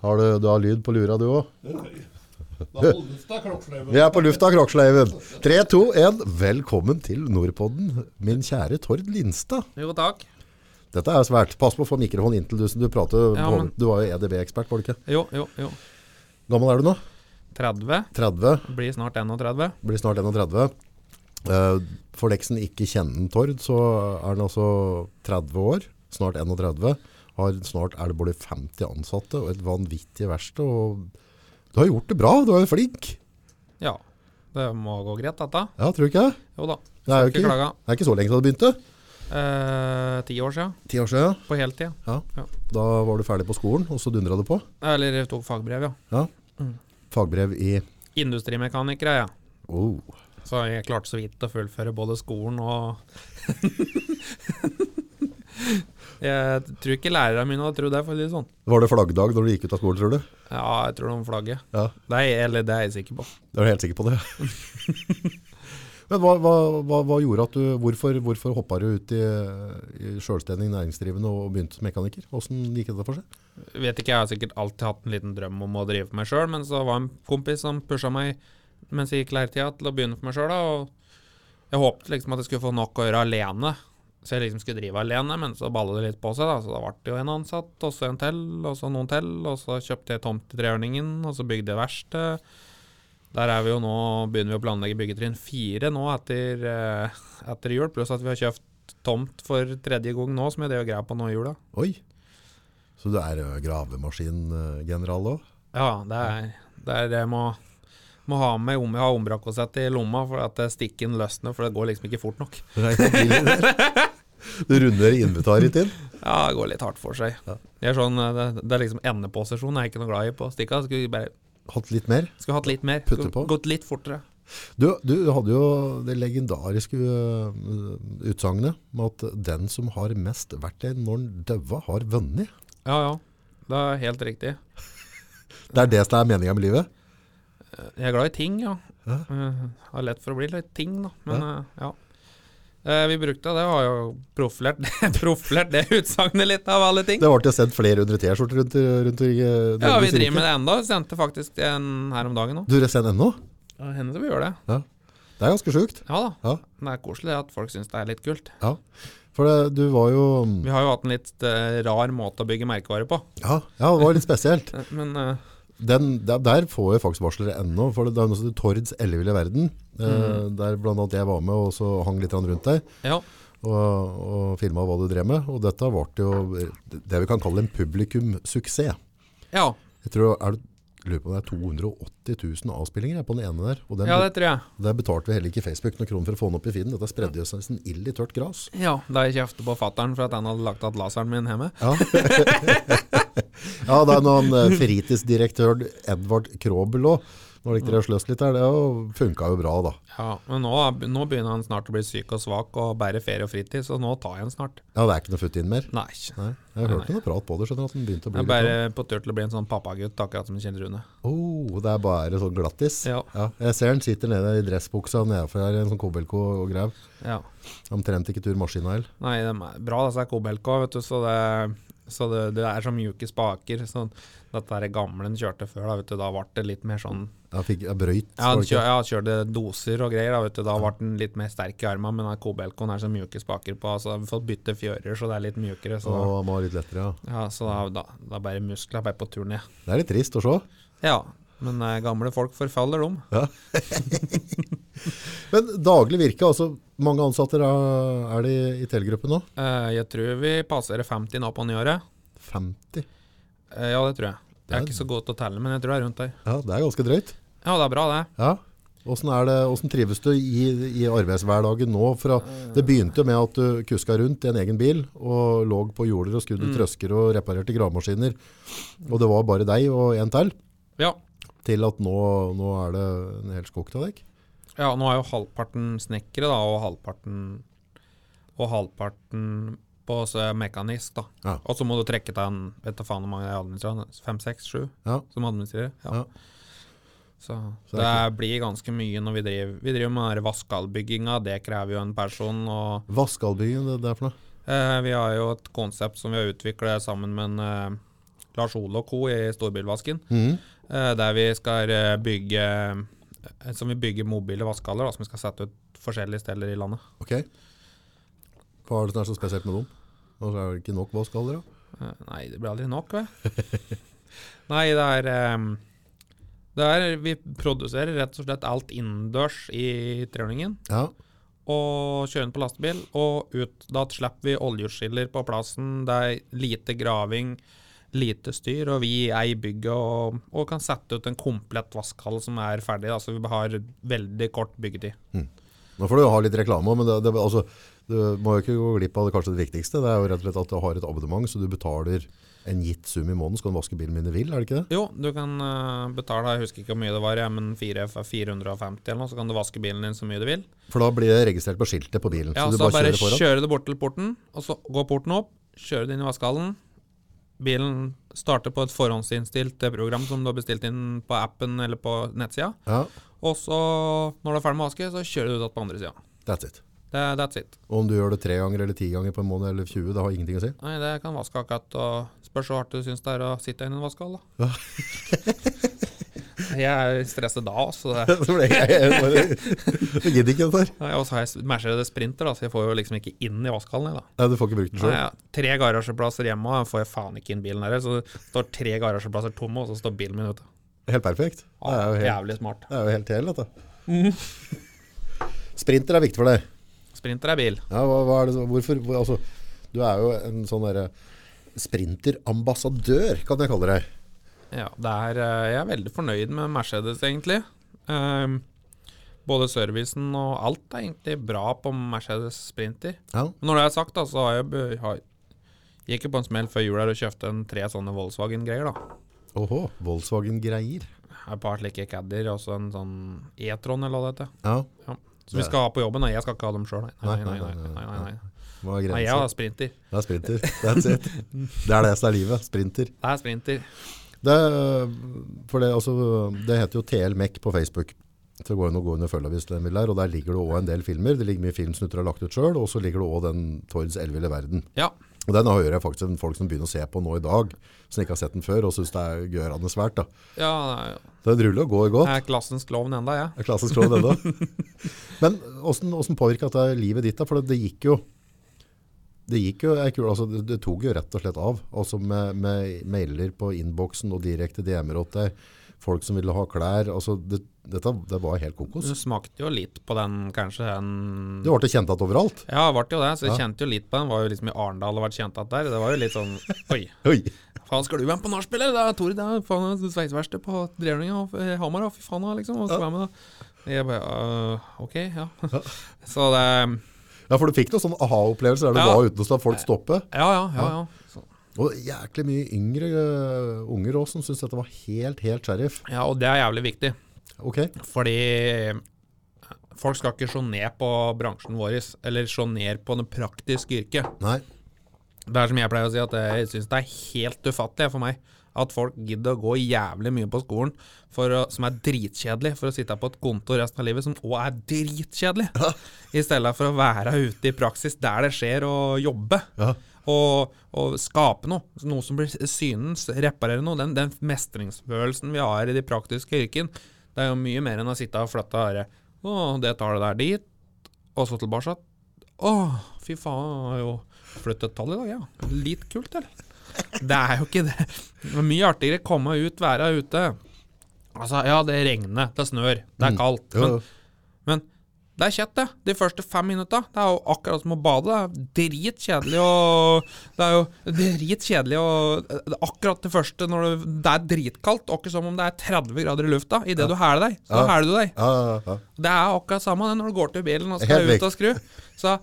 Har du, du har lyd på lura, du òg? Da holdes det klokkesleiven. Vi er på lufta, Kråksleiven. Tre, to, én. Velkommen til Nordpodden, min kjære Tord Lindstad. Jo, takk. Dette er svært. Pass på å få mikrofonen inntil du, du prater. Ja, på- men- Du var jo EDB-ekspert, var du ikke? Jo, jo, jo. Gammel er du nå? 30. 30. Blir snart 31. Blir snart 31. Eh, For leksen ikke kjenner Tord, så er han altså 30 år. Snart 31. Har, snart er det både 50 ansatte og et vanvittig verksted. Og du har gjort det bra, du er jo flink. Ja. Det må gå greit, dette. Ja, tror du ikke? det? Jo da. Det er jo Ikke ikke, klaga. det er ikke så lenge siden du begynte. Eh, Ti år siden, Ti år siden. på heltid. Da var du ferdig på skolen, og så dundra du på. Eller jeg tok fagbrev, ja. Fagbrev i Industrimekaniker er jeg. oh, Så jeg klarte så vidt å fullføre både skolen og Jeg tror ikke lærerne mine hadde trodd det, for å si det sånn. Var det flaggdag når du gikk ut av skolen, tror du? Ja, jeg tror de flagget. Ja, Det er, eller det er jeg sikker på. da er du helt sikker på det. Men hva, hva, hva, hva gjorde at du, hvorfor, hvorfor hoppa du ut i, i selvstendig næringsdrivende og begynte som mekaniker? Hvordan gikk dette for seg? vet ikke, jeg har sikkert alltid hatt en liten drøm om å drive for meg sjøl, men så var det en kompis som pusha meg mens jeg gikk lærertida til å begynne for meg sjøl, da, og jeg håpet liksom at jeg skulle få nok å gjøre alene. Så jeg liksom skulle drive alene, men så balla det litt på seg, da. Så da ble det jo en ansatt, og så en til, og så noen til, og så kjøpte jeg tomt i Trehjørningen, og så bygde jeg verksted. Der er vi jo nå, begynner vi å planlegge byggetrinn fire nå etter, eh, etter jul, pluss at vi har kjøpt tomt for tredje gang nå, som jeg drev og greia på nå i jula. Oi! Så du er øh, eh, gravemaskingeneral òg? Ja, det er det er det jeg må, må ha med om jeg har ombrakosett i lomma, for at eh, stikken løsner, for det går liksom ikke fort nok. Du runder inventaret ditt inn? Ja, det går litt hardt for seg. Det er sånn, eh, det, det er liksom endeposisjon jeg er ikke noe glad i på stikka. Skulle vi bare Hatt litt mer? skulle hatt litt mer. Putte Skulle på. Gått litt fortere. Du, du hadde jo det legendariske eh, utsagnet med at den som har mest verktøy når den døva, har vunnet. Ja, ja. Det er helt riktig. Det er det som er meninga med livet. Jeg er glad i ting, ja. Ja. Eh, Har lett for å bli litt ting, da. Men eh, ja. Eh, Vi brukte det, og har jo profilert, profilert det utsagnet litt, av alle ting. Det ble jo sendt flere hundre T-skjorter rundt, rundt i Ja, vi driver med det enda. Sendte faktisk en her om dagen òg. Du sender ennå? Hender det vi gjør det. Det er ganske sjukt. Ja da. Ja. Det er koselig at folk syns det er litt kult. Ja. For det, du var jo Vi har jo hatt en litt eh, rar måte å bygge merkevarer på. ja, ja, det var litt spesielt. Eh, Men eh, Den, der, der får jeg faktisk varsler ennå, for det er noe som heter Tords elleville verden. Eh, Mm. der blant annet jeg var med og så hang litt grann rundt deg ja, og, og filma hva du drev med. Og dette ble jo det vi kan kalle en publikumsuksess. ja, Jeg tror er det, lurer på om det er 280 000 avspillinger jeg, på den ene der. Og den ja, det tror jeg. Der betalte vi heller ikke Facebook noen kroner for å få den opp i feeden. Dette spredde jo seg som ild i tørt gras. Ja, Da jeg kjeftet på fattern for at han hadde lagt igjen laseren min hjemme. Ja, ja det er noen eh, fritidsdirektør Edvard Krobel òg. Nå gikk dere og sløs litt her, det funka jo bra da. Ja, Men nå, nå begynner han snart å bli syk og svak og bære ferie og fritid, så nå tar jeg han snart. Ja, det er ikke noe futt inn mer. Nei. Nei, jeg hørte noe prat på det, skjønner du, at den begynte å bli Jeg er litt bare sånn. på tur til å bli en sånn pappagutt, akkurat som Kjell Rune. Oh, det er bare sånn glattis. Ja. jeg ser den sitter nede i dressbuksa nedenfor her, i en sånn kobelko og grev. Ja. Omtrent ikke tur maskina heller. Nei, de er bra, disse Kobelka, vet du, så det, så det, det er så mjuke spaker. Så dette her gamle den kjørte før, da, vet du, da ble det litt mer sånn Jeg fikk jeg brøyt. Ja, han var det kjør, ikke? ja, han kjørte doser og greier. Da, vet du. da ble den litt mer sterk i armen, men den Kobelkoen er så mjuke spaker på. Så har vi fått bytte fjører, så det er litt mjukere. Så, Å, han var litt lettere, ja. ja, så da, da, da er bare muskler bare på tur ned. Det er litt trist å se. Ja, men eh, gamle folk forfaller, dem. Men daglig virke, altså mange ansatte er, er det i Telegruppen nå? Eh, jeg tror vi passerer 50 nå på nyåret. 50? Eh, ja, det tror jeg. Jeg er Det er- ikke så god til å telle, men jeg tror det er rundt der. Ja, det er ganske drøyt. Ja, det er bra, det. Ja. Hvordan, er det, hvordan trives du i, i arbeidshverdagen nå? Fra, det begynte jo med at du kuska rundt i en egen bil, og lå på jorder og skudde trøsker og reparerte gravemaskiner. Og det var bare deg og en til, Ja. til at nå, nå er det en hel skog til deg. ja, nå er jo halvparten snekkere, da, og halvparten Og halvparten på så mekanisk, da. Ja. Og så må du trekke til en Vet da faen hvor mange er administrerende? Fem, seks, sju? Ja. som administrerer. Ja. Ja. Så, Så det det, er blir ganske mye når vi driver, vi driver med den der vaskehallbygginga, det krever jo en person. Og Vaskallbyen, det, det er for noe? eh, vi har jo et konsept som vi har utvikla sammen med en eh, Lars Ole og co. i Storbilvasken. Mhm. eh, Der vi skal eh, bygge eh, Som vi bygger mobile vaskehaller da, som vi skal sette ut forskjellige steder i landet. Ok. Hva er det som er så spesielt med dem? Og så er det ikke nok vaskehaller, da? Eh, Nei, det blir aldri nok, vel? Nei, det er eh, Det er Vi produserer rett og slett alt innendørs i trehjulingen. Ja. og kjøre den på lastebil og ut. Da slipper vi oljeskiller på plassen. Det er lite graving, lite styr, og vi er i bygget og, og kan sette ut en komplett vaskhall som er ferdig. Altså vi har veldig kort byggetid. Nå får du ha litt reklame, men det, det, altså, du må jo ikke gå glipp av det kanskje det viktigste. Det er jo rett og slett at du har et abonnement, så du betaler en gitt sum i måneden, så kan du vaske bilen min du vil, er det ikke det? Jo, du kan eh, betale, jeg husker ikke hvor mye det var, ja, men fire- 450 eller noe, så kan du vaske bilen din så mye du vil. For da blir det registrert på skiltet på bilen, Ja, så du så bare, bare kjører foran. kjører du bort til porten, og så går porten opp, kjører du inn i vaskehallen. Bilen starter på et forhåndsinnstilt eh, program som du har bestilt inn på appen eller på nettsida. Ja, Og så, når du er ferdig med å vaske, så kjører du ut på andre sida. that's it. Det, that's it. Og om du gjør det tre ganger eller ti ganger på en måned eller 20, det har ingenting å si. Nei, det kan vaske akkurat, og spørs hvor hardt du syns det er å sitte inne i en vaskehall, da. jeg er stresset da, så det Så ble jeg, jeg, bare, jeg gidder ikke dette her. Nei, Og så har jeg Mercedes Sprinter, da, så jeg får jo liksom ikke inn i vaskehallen, jeg, da. Nei, du får ikke brukt den Nei, selv. jeg har tre garasjeplasser hjemme, og jeg får faen ikke inn bilen her. Så det står tre garasjeplasser tomme, og så står bilen min ute. Helt perfekt. Det er jo helt, Jævlig smart. det er jo helt hel, dette. Sprinter er viktig for deg. Sprinter er bil. Ja, hva, hva er det, så- hvorfor, hvor, altså, du er jo en sånn derre sprinterambassadør, kan jeg kalle deg. Ja, det er, eh, jeg er veldig fornøyd med Mercedes, egentlig. Ehm, både servicen og alt er egentlig bra på Mercedes Sprinter. Ja. Men når det er sagt, da, så har jeg, be- har, gikk jeg på en smell før jul her og kjøpte en tre sånne Volkswagen-greier. da. Åhå, Volkswagen-greier. Et par slike Caddier og så en sånn E-tron eller hva det heter. Ja, Ja. Som vi skal ha på jobben. Nei, jeg skal ikke ha dem sjøl, nei. Nei, nei, nei, nei, nei, nei. hva er nei, jeg har grensen? Sprinter. Det er sprinter, that's it. Det er det som er livet, sprinter. Det er Sprinter. Det, er- for det, altså, det heter jo TL Mekk på Facebook. Så går det an å gå inn og følge hvis den vil der, og der ligger det også en del filmer. Det ligger mye film som du har lagt ut selv, og så ligger det også den Tords elville verden. Ja. Og den hører jeg faktisk folk som begynner å se på nå i dag, som ikke har sett den før, og synes det er gørende svært da. ja Den ruller og går godt. jeg er klassens klovn enda, jeg. Det er klassisk råd ennå. Men hvordan, hvordan påvirket det livet ditt da? For det, det gikk jo, det gikk jo, jeg, kunne- altså, det, det tok jo rett og slett av. Altså med, med mailer på innboksen og direkte DM-er åt deg, folk som ville ha klær, altså det, dette, det var helt kokos. Du smakte jo litt på den, kanskje. en... Du ble kjent at overalt. Ja, det ble jo det. Så jeg Ja. kjente jo litt på den. Var jo liksom i Arendal og vært kjent at der. Det var jo litt sånn Oi, Oi, faen, skal du være med på nachspiel, eller? Det er Tore, det er faen det er sveiseverksted på Drevninga og eh, Hamar, og fy faen, da, liksom. Og skal være med, da. Jeg bare øh, Ok, ja. Så det ja for du fikk noen sånne aha-opplevelser der du Ja. var uten å la folk stoppe. Ja, ja, ja. ja. Så, Og jæklig mye yngre øh, unger også som syntes dette var helt, helt sheriff. ja, og det er jævlig viktig. Ok, Fordi eh, folk skal ikke se ned på bransjen vår, eller se ned på noe praktisk yrke. nei, Det er som jeg pleier å si, at jeg syns det er helt ufattelig for meg at folk gidder å gå jævlig mye på skolen for å, som er dritkjedelig, for å sitte på et kontor resten av livet som òg er dritkjedelig, i stedet for å være ute i praksis der det skjer, og jobbe. Ja. Og, og skape noe. Noe som blir synens, reparere noe. Den, den mestringsfølelsen vi har i de praktiske yrken, det er jo mye mer enn å sitte og flytte herre. Å, det tar det der dit, og så tilbake. Å, fy faen, jeg har jo flyttet tall i dag, ja. Litt kult, eller? Det er jo ikke det. Det er mye artigere å komme ut, være ute. Altså, ja, det regner, det snør, det er kaldt. Mm. jo, Men, men det er kjett, det. De første fem minutta. Det er jo akkurat som å bade. Det er dritkjedelig og Det er jo dritkjedelig og det er Akkurat det første når du Det er dritkaldt. Det er ikke som om det er 30 grader i lufta. Idet du hæler deg, så Ja. hæler du deg. ja, ja, ja. Det er akkurat samme det når du går til bilen og skal Helt ut og skru. Så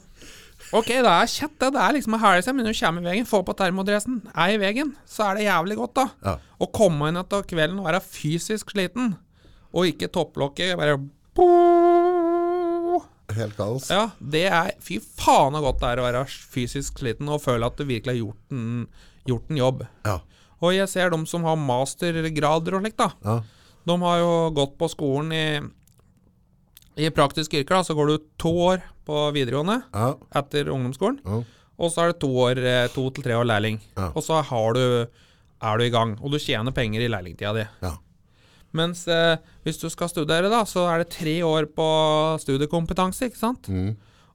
ok, det er kjett, det. Det er liksom å hæle seg, men når du kommer i veggen, få på termodressen, er i veggen, så er det jævlig godt, da. Ja. Å komme inn etter kvelden og være fysisk sliten, og ikke topplokket bare bo- Helt kaos. ja, det er Fy faen så godt det er å være fysisk sliten og føle at du virkelig har gjort en, gjort en jobb. Ja. Og jeg ser dem som har mastergrader og slikt, da. Ja. De har jo gått på skolen i, i praktiske yrker, da, så går du to år på videregående Ja. etter ungdomsskolen. Ja. Og så er det to, år, eh, to til tre år lærling. Ja. Og så har du er du i gang, og du tjener penger i lærlingtida di. Ja. Mens eh, hvis du skal studere, da, så er det tre år på studiekompetanse, ikke sant?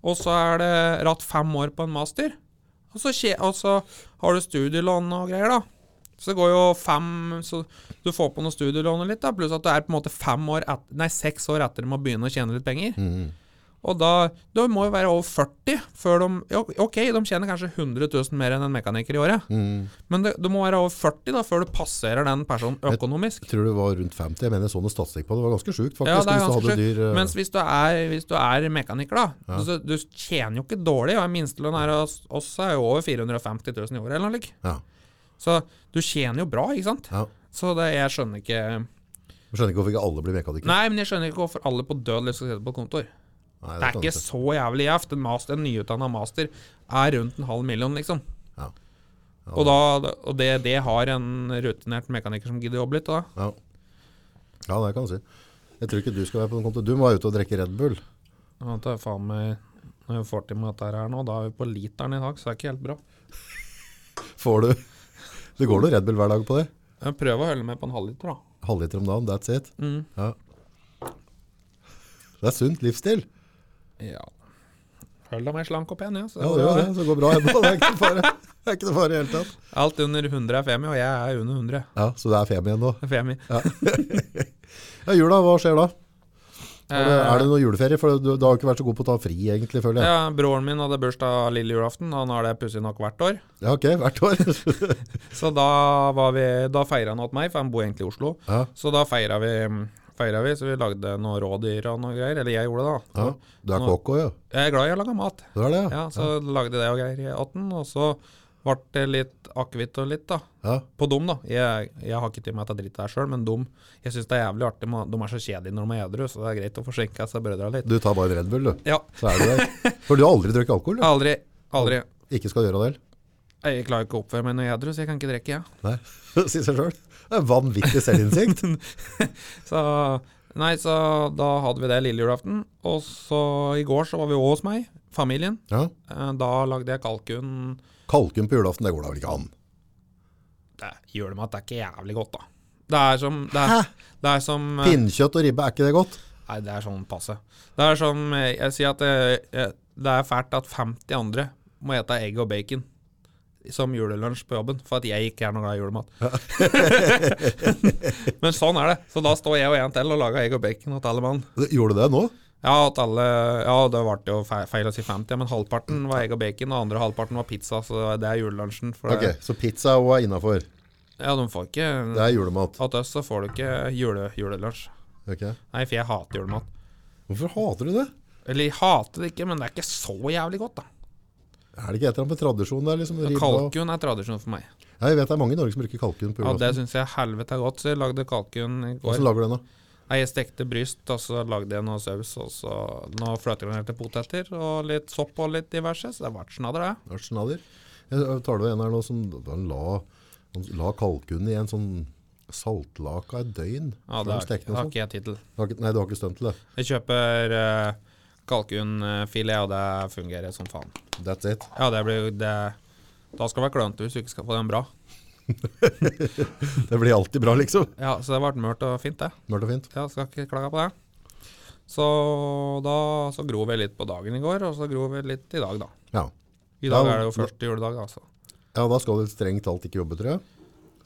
Og så er det ratt fem år på en master. Og så, skje, og så har du studielån og greier, da. Så det går jo fem Så du får på noe studielån og litt, da, pluss at du er på en måte fem år et, nei, seks år etter med å begynne å tjene litt penger. Og da, da må jo være over 40 før de ja, Ok, de tjener kanskje 100 000 mer enn en mekaniker i året, men det- du må være over 40 da før du passerer den personen økonomisk. Jeg tror det var rundt 50. Jeg mener jeg så noe statistikk på det. Det var ganske sjukt, faktisk. Ja, det er hvis du ganske hadde sjukt. dyr, eh, Mens hvis du er, hvis du er mekaniker, da så Du tjener jo ikke dårlig. og Minstelønn her hos oss er jo over 450 000 i året, eller noe slikt. ja, Så du tjener jo bra, ikke sant? ja. Så det, jeg skjønner ikke Jeg skjønner ikke hvorfor ikke alle blir mekanikere. Nei, men jeg skjønner ikke hvorfor alle på død lyst til å sitte på et kontor. Nei, Det er kan ikke jeg så jævlig gjevt. En, master- en nyutdanna master er rundt en halv million, liksom. Ja. Ja. Og, da, og det, det har en rutinert mekaniker som gidder å jobbe litt, da. Ja. ja, det kan du si. Jeg tror ikke du skal være på den kontoen. Du må være ute og drikke Red Bull. Ja, det er faen meg Når vi får til med dette her nå, da er vi på literen i dag, så det er ikke helt bra. Får du Det går noe Red Bull hver dag på det. Jeg prøver å holde meg på en halvliter, da. Halvliter om dagen, that's it. Mm. Ja. Det er sunt livsstil. Ja. Hold deg mer slank og pen, ja. Så Ja, det går det gjør bra. det. Så det går bra hjemme. Det er ikke noe fare. Det er ikke noe fare i det hele tatt. Alt under 100 er femi, og jeg er under 100. Ja, Så det er fem igjen nå. Det er Femi. Ja, Jula, hva skjer da? Er det, er det noe juleferie? For du, du har ikke vært så god på å ta fri, egentlig, føler jeg. Ja, Broren min hadde bursdag lille julaften. Han har det pussig nok hvert år. Ja, ok, hvert år. Så da, var vi, da feira han hos meg, for han bor egentlig i Oslo. ja, Så da feira vi, feira vi, så vi lagde noe rådyr og noe greier. Eller jeg gjorde det, da. ja. Du er kokk òg, ja. Jeg er glad i å lage mat. Du er det, ja. Ja, Så lagde det og greier i 18, og så ble det litt akevitt og litt, da. ja. På dum, da. Jeg, jeg har ikke tid med å ta dritt der sjøl, men dum. Jeg syns det er jævlig artig. men De er så kjedelige når de er edru, så det er greit å forsinke seg brødra litt. Du tar bare en Red Bull, du. Ja, Så er du der. For du har aldri drukket alkohol? du. aldri. Aldri. Ikke skal gjøre det heller. Jeg klarer ikke å oppføre meg når jeg er edru, så jeg kan ikke drikke, jeg. Nei, sier seg sjøl. Det er vanvittig selvinnsikt. Så Nei, så da hadde vi det lille julaften. Og så i går så var vi òg hos meg, familien. Ja. Eh, Da lagde jeg kalkun Kalkun på julaften, det går da vel ikke an? Det gjør det meg at det er ikke jævlig godt, da. Det er som Det er, det er som eh, Pinnkjøtt og ribbe, er ikke det godt? Nei, det er sånn passe. Det er som eh, Jeg sier at eh, eh, det er fælt at 50 andre må ete egg og bacon som julelunsj på jobben, for at jeg ikke er noe glad i julemat. Men sånn er det. Så da står jeg og en til og lager egg og bacon til alle mann. Gjorde du det nå? Ja, at alle, ja, det ble jo fe- feil å si 50, men halvparten var egg og bacon, og andre halvparten var pizza, så det er julelunsjen. For Ok, det, Så pizza òg er innafor. ja, de får ikke Det er julemat. At oss så får du ikke jule, julelunsj. Ok. Nei, for jeg hater julemat. Hvorfor hater du det? Eller jeg hater det ikke, men det er ikke så jævlig godt, da. Er det ikke et eller annet med tradisjon der? liksom? Ribbe og... Kalkun er tradisjon for meg. Ja, jeg vet det er mange i Norge som bruker kalkun på Ja, Det julaften. syns jeg helvete er godt. Så jeg lagde kalkun i går. Hvordan lager du den, da? Nei, Jeg stekte bryst, og så lagde jeg noe saus, og så noe fløtegranerte poteter og litt sopp og litt diverse. Så det ble snadder, det. Lars Schneider. Jeg tar det en her nå som han la, han la kalkunen i en sånn saltlaka et døgn. Ja, før det de har, stekte det den har sånn. ikke jeg tittel. Du har ikke- Nei, du har ikke stunt til det. Jeg kjøper eh, kalkunfilet, og det fungerer som faen. That's it. Ja, det blir jo det Da skal det være klønete hvis du ikke skal få den bra. Det blir alltid bra, liksom. Ja, Så det ble mørt og fint, det. Mørkt og fint. Ja, skal ikke klage på det. Så da så grov vi litt på dagen i går, og så grov vi litt i dag, da. Ja. I Ja, dag er det jo men- første juledag, altså. ja, da skal du strengt talt ikke jobbe, tror jeg.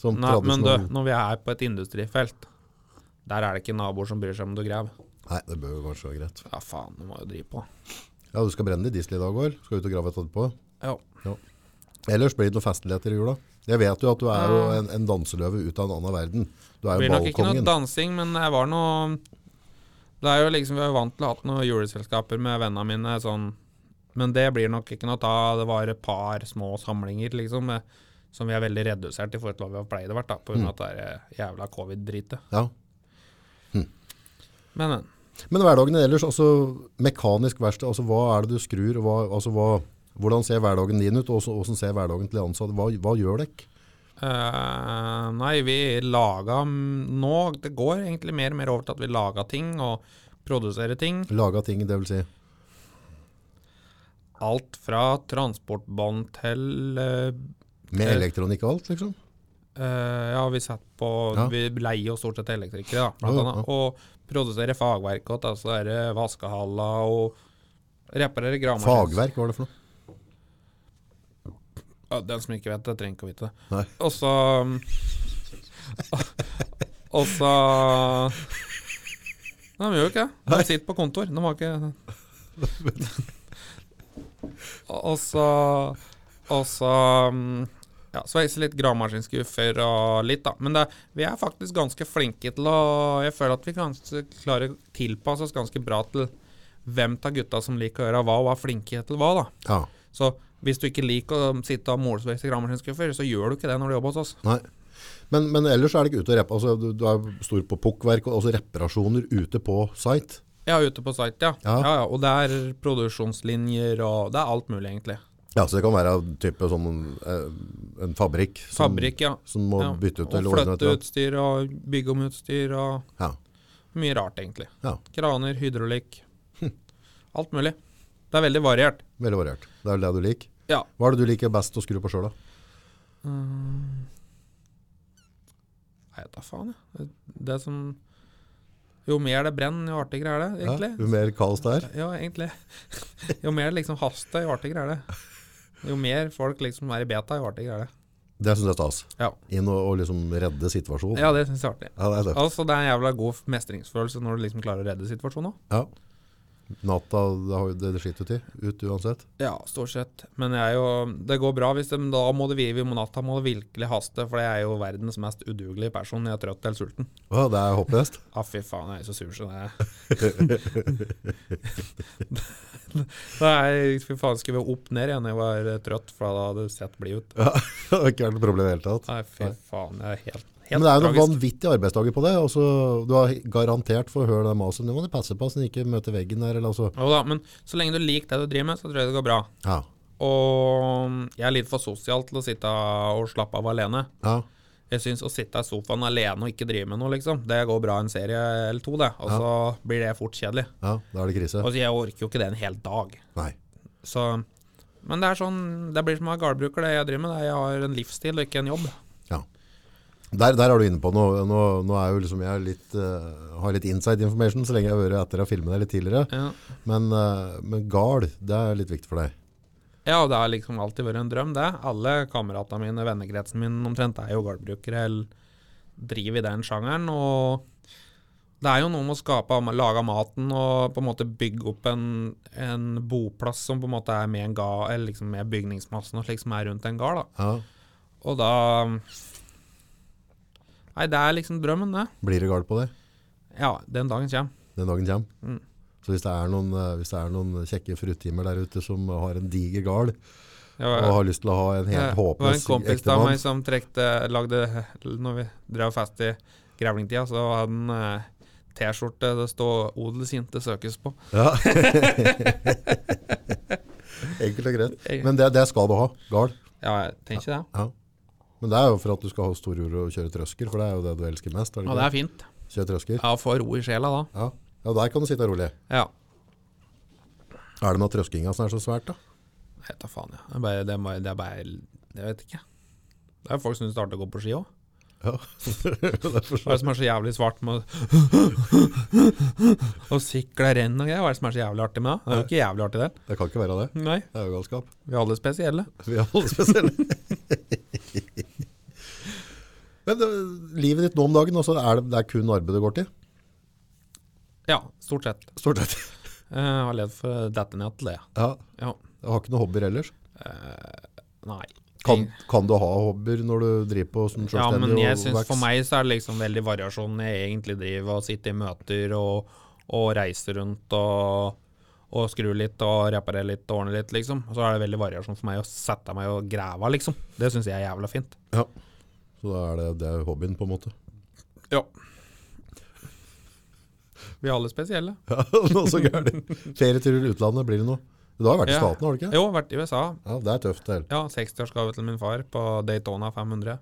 Sånn Som Nei, men du, tradisjonell- når vi er på et industrifelt, der er det ikke naboer som bryr seg om du graver. Nei, det bør jo kanskje være greit. Ja, faen, du må jo drive på. Ja, du skal brenne det i diesel i dag òg. Skal ut og grave et etterpå. Jo. Ellers blir det noen festligheter i jula. Jeg vet jo at du er jo en, en danseløve ut av en annen verden. Du Det er Ah. blir jo nok ikke noe ballkongen. dansing, men det var noe Det er jo liksom Vi er jo vant til å ha hatt noen juleselskaper med vennene mine sånn, men det blir nok ikke noe av. Det var et par små samlinger, liksom, med, som vi er veldig redusert i forhold til hva vi pleier å vært, da, på grunn av at det er eh, jævla covid-dritet. Ja. Men, men. Men hverdagen ellers, altså mekanisk verksted, altså hva er det du skrur, og hva, altså hva, hvordan ser hverdagen din ut, og også- hvordan ser hverdagen til de ansatte, hva, hva gjør dere? Eh, nei, vi laga m- nå Det går egentlig mer og mer over til at vi lager ting og produserer ting. Laga ting, det vil si. Alt fra transportbånd til eh, Med Eh. elektronikk og alt, liksom? Eh, ja, vi satt på Ja. Vi leier jo stort sett elektrikere, da, blant Ja, ja. annet. Og produserer fagverk og altså er det vaskehaller og reparerer gravemaskiner. Fagverk, hva er det for noe? Ja, den som ikke vet det, trenger ikke å vite det. Nei. Og så um, Og så Nei, de gjør jo ikke det. De sitter på kontor. De har ikke Og så Og så mm, ja, Sveiser litt gravemaskinskuffer og litt, da. Men det, vi er faktisk ganske flinke til å Jeg føler at vi kanskje klarer å tilpasse oss ganske bra til hvem av gutta som liker å gjøre hva, og er flinke til hva, da. Ja, Så hvis du ikke liker å sitte og målsveise grammaskinskuffer, så gjør du ikke det når du jobber hos oss. nei. Men, men ellers er det ikke ute å reppe. Altså, du, du er stor på pukkverk, og altså reparasjoner ute på site. Ja, ute på site, ja. Ja. ja. ja, Og det er produksjonslinjer og Det er alt mulig, egentlig. Ja, så det kan være type sånn eh, en fabrikk som, Fabrikk, ja. som må ja. bytte ut og eller ordne flytte etter. utstyr og bygge om utstyr og Ja, mye rart, egentlig. ja, Hm. Kraner, hydraulikk. Alt mulig. Det er veldig variert. veldig variert. Det er det du liker. Ja. Hva er det du liker best å skru på sjøl, da? Hm. Nei, da faen, jeg. Det som Jo mer det brenner, jo artigere er det, egentlig. Ja, jo mer kaos det er. Ja, egentlig. Jo mer liksom haster, jo artigere er det. Jo mer folk liksom er i beta, jo artigere er det. Det syns jeg er stas. Ja, Inn og, og liksom redde situasjonen. ja det syns jeg er artig. Ja, det er det. Altså, det er en jævla god mestringsfølelse når du liksom klarer å redde situasjonen òg. Ja. Natta, det har jo det det skiter ut i. Ut uansett. Ja, stort sett. Men jeg er jo, det går bra hvis det, men da må det vi må natta må det virkelig haste, for jeg er jo verdens mest udugelige person når jeg er trøtt eller sulten. Å, det er håpløst. Ja, fy faen, jeg er så sur som jeg er. Da er jeg fy faen skrev opp ned igjen når jeg var eh, trøtt, for da hadde det sett blid ut. Ja, det har ikke vært noe problem i det hele tatt. Nei, fy faen, jeg er helt, helt Men det er jo noen tragisk. vanvittige arbeidsdager på det. Altså, du har garantert for å høre det maset. Nå må du passe på så du ikke møter veggen der. Eller, altså. Jo da, men så lenge du liker det du driver med, så tror jeg det går bra. ja. Og jeg er litt for sosial til å sitte og slappe av alene. Ja. Jeg syns å sitte i sofaen alene og ikke drive med noe, liksom, det går bra en serie eller to, det. Og så blir det fort kjedelig. ja, da er det krise. Og så jeg orker jo ikke det en hel dag. Nei. Så Men det er sånn Det blir som å være gårdbruker, det jeg driver med. det er- Jeg har en livsstil og ikke en jobb. Ja. Der, der er du inne på noe. Nå, nå er jo liksom jeg litt, eh, har litt inside information så lenge jeg har vært etter å filme det litt tidligere. Ja. Men, eh, men gal, det er litt viktig for deg. ja, og det har liksom alltid vært en drøm, det. Alle kameratene mine, vennekretsen min omtrent, er jo gårdbrukere eller driver i den sjangeren. Og det er jo noe med å skape, lage maten og på en måte bygge opp en, en boplass som på en måte er med en ga, eller liksom med bygningsmassen og slik som er rundt en gard, da. Ja. Og da Nei, det er liksom drømmen, det. Blir det gal på det Ja, den dagen kommer. den dagen kommer? Mm. Så hvis det, er noen, eh, hvis det er noen kjekke fruttimer der ute som har en diger gal, Jeg og har lyst til å ha en helt Eh, Det var en håpløs kompis av ektemann meg som trekte, lagde Når vi drev fest i grevlingtida, så hadde han eh, T-skjorte det stod 'Odelsjente søkes på'. Ja. Enkelt og greit. Jeg- Men det, det skal du ha, gal. Ja, jeg tenker det. Ja. Men det er jo for at du skal ha stor jord og kjøre trøsker, for det er jo det du elsker mest. Er det Og det ikke? er fint. det? Kjøre trøsker. Ja, få ro i sjela da. Ja. ja, der kan du sitte rolig. Ja. Er det med at trøskinga som er så svært, da? Nei, ta faen, jeg. Det er bare, det er bare, det er bare Jeg vet ikke. Det er folk som syns det er artig å gå på ski òg. Ja, derfor Hva er det som er så jævlig svart med å- Og sikla renn og greier. Hva er det som er så jævlig artig med det? Det er jo ikke jævlig artig, det. Det kan ikke være det. Nei. Det er jo galskap. Vi er alle spesielle. Vi er alle spesielle. Men det, livet ditt nå om dagen, altså, er det, det er kun arbeid det går til? Ja, stort sett. Stort sett. Eh, Jeg har levd for å dette ned til det. Ja. Ja. Jeg har ikke noen hobbyer ellers. Nei. Kan, kan du ha hobbyer når du driver på som ja, selvstendig? men jeg og synes veks? for meg så er det liksom veldig variasjon jeg egentlig driver og sitter i møter og, og reiser rundt og, og skru litt og reparere litt og ordne litt, liksom. Og så er det veldig variasjon for meg å sette meg og grave, liksom. Det syns jeg er jævla fint. Ja. Så da er det, det er hobbyen, på en måte. Ja. Vi er alle spesielle. Ja, noe så gærent. Ferieturer i utlandet, blir det noe? Du har vært i Ja. staten, har du ikke? Jo, vært i USA. Ja, det er tøft. Det. Ja, 60-årsgave til min far på Daytona 500.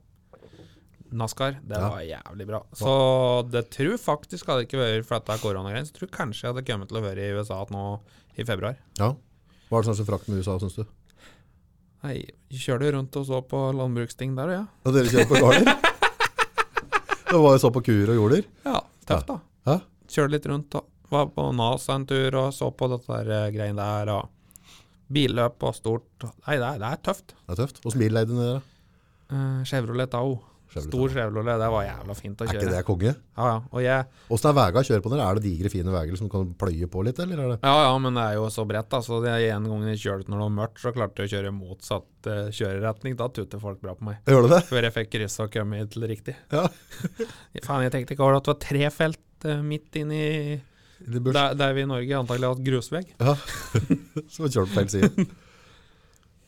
NASCAR. Det Ja. var jævlig bra. Så det tror faktisk hadde ikke vært for dette koronagreiene. Så tror jeg kanskje jeg hadde kommet til å være i USA nå i februar. Ja. Hva er det som er så frakt med USA, syns du? Nei, kjører du rundt og så på landbruksting der, ja? Og dere kjører på gårder? Det var jo så på kuer og jorder. Ja, tøft da. Hæ? Kjørte litt rundt og var på NAS en tur og så på dette der eh, greiene der og billøp og stort. Nei, det er, det er tøft. Det er tøft. Åssen bil leide dere? Eh, Chevrolet Tao. Chevrolet Stor Chevrolet, det var jævla fint å Er kjøre. ikke det konge? Ja, ja. Og jeg, Åssen er veiene å kjøre på dere? Er det digre, fine veier som kan pløye på litt, eller er det ja, ja, men det er jo så bredt, da. Så det er en gang jeg kjørte når det var mørkt, så klarte jeg å kjøre motsatt eh, kjøreretning. Da tuter folk bra på meg. Gjør det det? Før jeg fikk kryssa og kommet til riktig. Ja. Faen, jeg tenkte ikke over at det var tre felt eh, midt inni Det bør- der, der vi i Norge antagelig har hatt grusvegg. Ja. Som har kjørt på feil side.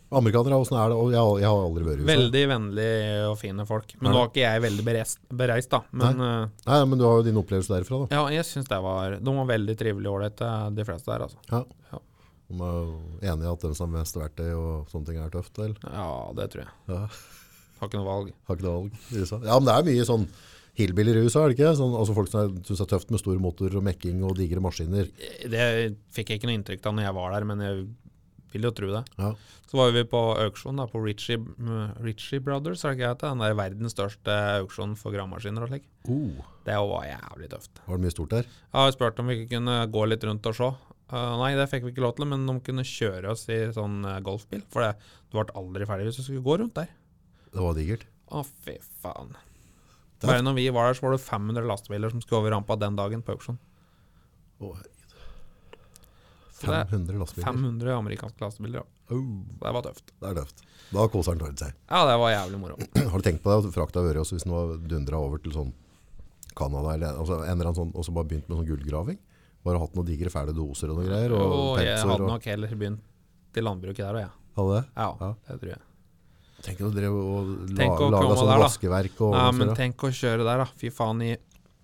Amerikanere, åssen er det? Og Jeg, har- jeg har aldri vært i USA. Veldig vennlige og fine folk. Men Er nå var ikke jeg veldig bereist, bereist da. Men eh, Nei, men du har jo din opplevelse derfra, da. ja, jeg syns det var De var veldig trivelige og ålreite, de fleste der, altså. Ja. Ja. De er jo enige i at de som har mest verktøy og sånne ting er tøft, eller? Ja, det tror jeg. Ja. Har ikke noe valg. Har ikke noe valg i USA. Ja, men det er mye sånn hillbiler i USA, er det ikke? Sånn, altså folk som er- synes det er tøft med stor motor og mekking og digre maskiner. Det fikk jeg ikke noe inntrykk av når jeg var der, men jeg vil jo tro det. Ja. Så var vi på auksjon da, på Ritchie, mm, Ritchie Brothers, er det ikke det? heter? Den der verdens største auksjon for gravemaskiner og slik. Oh, Det var jævlig tøft. var det mye stort der? Jeg har spurt om vi ikke kunne gå litt rundt og se. Eh, nei, det fikk vi ikke lov til, men de kunne kjøre oss i sånn eh, golfbil. For det, du ble aldri ferdig hvis du skulle gå rundt der. Det var digert. Å, fy faen. Det er- Bare når vi var der, så var det 500 lastebiler som skulle over rampa den dagen på auksjon. Å, herregud. Så det er 500 lastebiler. 500 amerikanske lastebiler, ja. Oh, Det var tøft. det er tøft. Da koser han tårnet seg. Ja, det var jævlig moro. Har du tenkt på det at frakta har vært også hvis den var dundra over til sånn Canada eller altså, en eller annen sånn, og så bare begynt med sånn gullgraving? Bare hatt noen digre fæle doser og noen greier? Og, Og jeg pelsår hadde og- nok heller begynt i landbruket der òg, jeg. Hadde det? Ja. Ja. det tror jeg. Tenk å drive og la, Tenk å lage komme sånn der, da. vaskeverk og Ja, men og så- tenk å kjøre der, da. Fy faen, i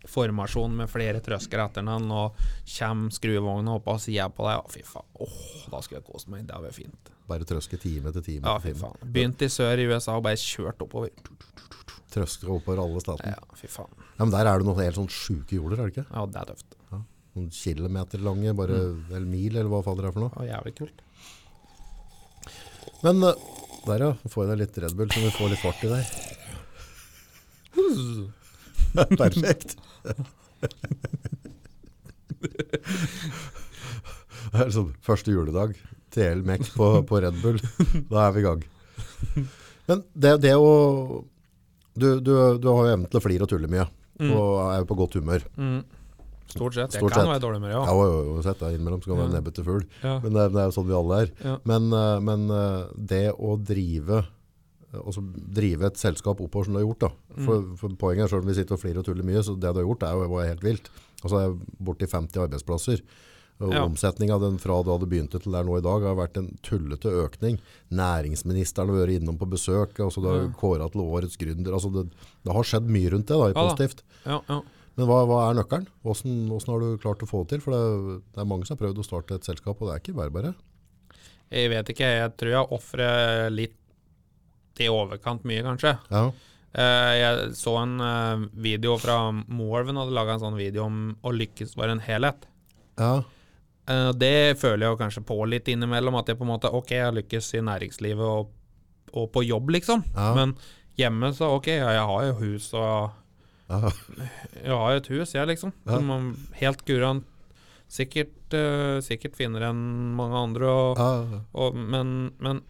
formasjon med flere trøsker etter den, og kjem skruvogna opp av sida på deg, og fy faen. Åh, da skulle jeg kose meg. Det hadde vært fint. Bare trøske time etter time. Ja, etter fy time. faen. Begynt i sør i USA og bare kjørt oppover. Trøske oppover alle staten. Ja. Ja, fy faen. men der er det noen helt sånn sjuke jorder, er det ikke? Ja, det er tøft. Noen kilometer lange, bare Mm. eller mil, eller hva faen det er for noe. Det var jævlig kult. Men eh, der, ja. Får jeg deg litt Red Bull, så vi får litt fart i der. Perfekt. Det er sånn første juledag. TL Mek på, på Red Bull. Da er vi i gang. Men det, det å du, du, du har jo evnen til å flire og tulle mye, Mm. og er jo på godt humør. Mm. Stort sett. Jeg Stort kan sett. være dårlig med det Jeg òg. har jo sett deg innimellom, så kan du være Ja. nebbete fugl. Ja. Men det, er- det er jo sånn vi alle er. Ja. Men, eh, men eh, det å drive Altså drive et selskap oppover som du har gjort da. Mm. For, for poenget er selv om vi sitter og flirer og tuller mye, så det du har gjort er jo bare helt vilt. Altså det er borti 50 arbeidsplasser. Og Ja. Omsetningen av den fra du hadde begynt til der nå i dag har vært en tullete økning. Næringsministeren har vært innom på besøk, altså det har Ja. kåret til årets gründer. Altså det, det har skjedd mye rundt det da, i Ja da. positivt. Ja, ja. Men hva, hva er nøkkelen? Hvordan, hvordan har du klart å få det til? For det, det er mange som har prøvd å starte et selskap, og det er ikke bare bare. Jeg vet ikke, jeg tror jeg ofrer litt i overkant mye, kanskje. Ja, Eh, jeg så en eh, video fra Moelven hadde laga en sånn video om å lykkes være en helhet. ja. Eh, det føler jeg jo kanskje på litt innimellom, at jeg på en måte OK, jeg har lykkes i næringslivet og, og på jobb, liksom. Ja. Men hjemme så OK, ja, jeg har jo hus og ja. Jeg har jo et hus, jeg, liksom. Ja. Som man helt kurant sikkert, eh, sikkert finner enn mange andre. Og, Ja, Og, men, men